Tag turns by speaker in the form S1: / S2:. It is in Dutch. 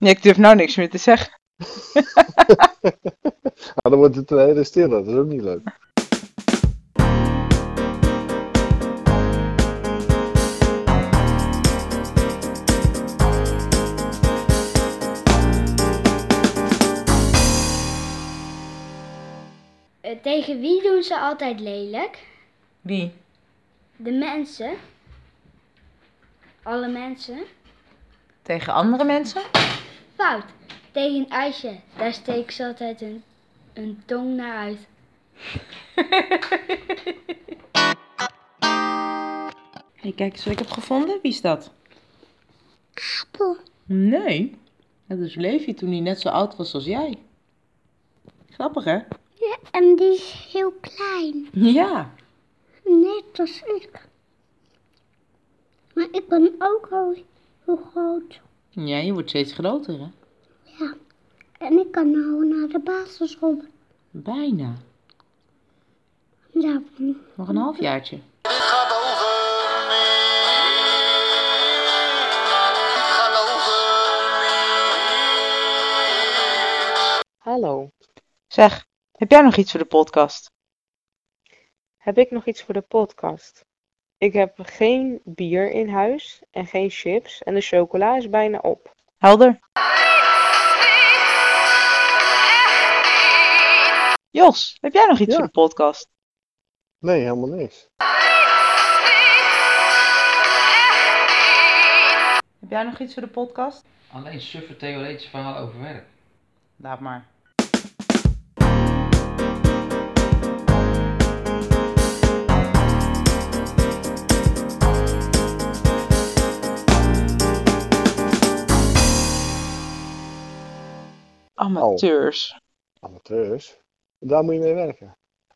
S1: Ja, ik durf nou niks meer te zeggen.
S2: Ah, dan wordt het een hele stille. Dat is ook niet leuk.
S3: Eh, Tegen wie doen ze altijd lelijk?
S1: Wie?
S3: De mensen. Alle mensen.
S1: Tegen andere mensen?
S3: Fout. Tegen een ijsje. Daar steken ze altijd een, een tong naar uit.
S4: Hey, kijk eens wat ik heb gevonden. Wie is dat?
S3: Appel.
S4: Nee. Dat is Levi toen hij net zo oud was als jij. Grappig, hè?
S3: En die is heel klein.
S4: Ja.
S3: Net als ik. Maar ik ben ook al heel groot.
S4: Ja, je wordt steeds groter, hè?
S3: En ik kan nou naar de basisschool.
S4: Bijna.
S3: Ja,
S4: Nog een halfjaartje.
S5: Hallo,
S1: Zeg, heb jij nog iets voor de podcast?
S5: heb ik nog iets voor de podcast? Ik heb geen bier in huis en geen chips en de chocola is bijna op.
S1: Helder? Jos, heb jij nog iets
S2: Ja.
S1: voor de podcast?
S2: Nee, helemaal niks.
S4: Heb jij nog iets voor de podcast?
S6: Alleen suffe theoretische verhalen over werk.
S4: Laat maar.
S1: Amateurs.
S2: Amateurs. Daar moet je mee werken.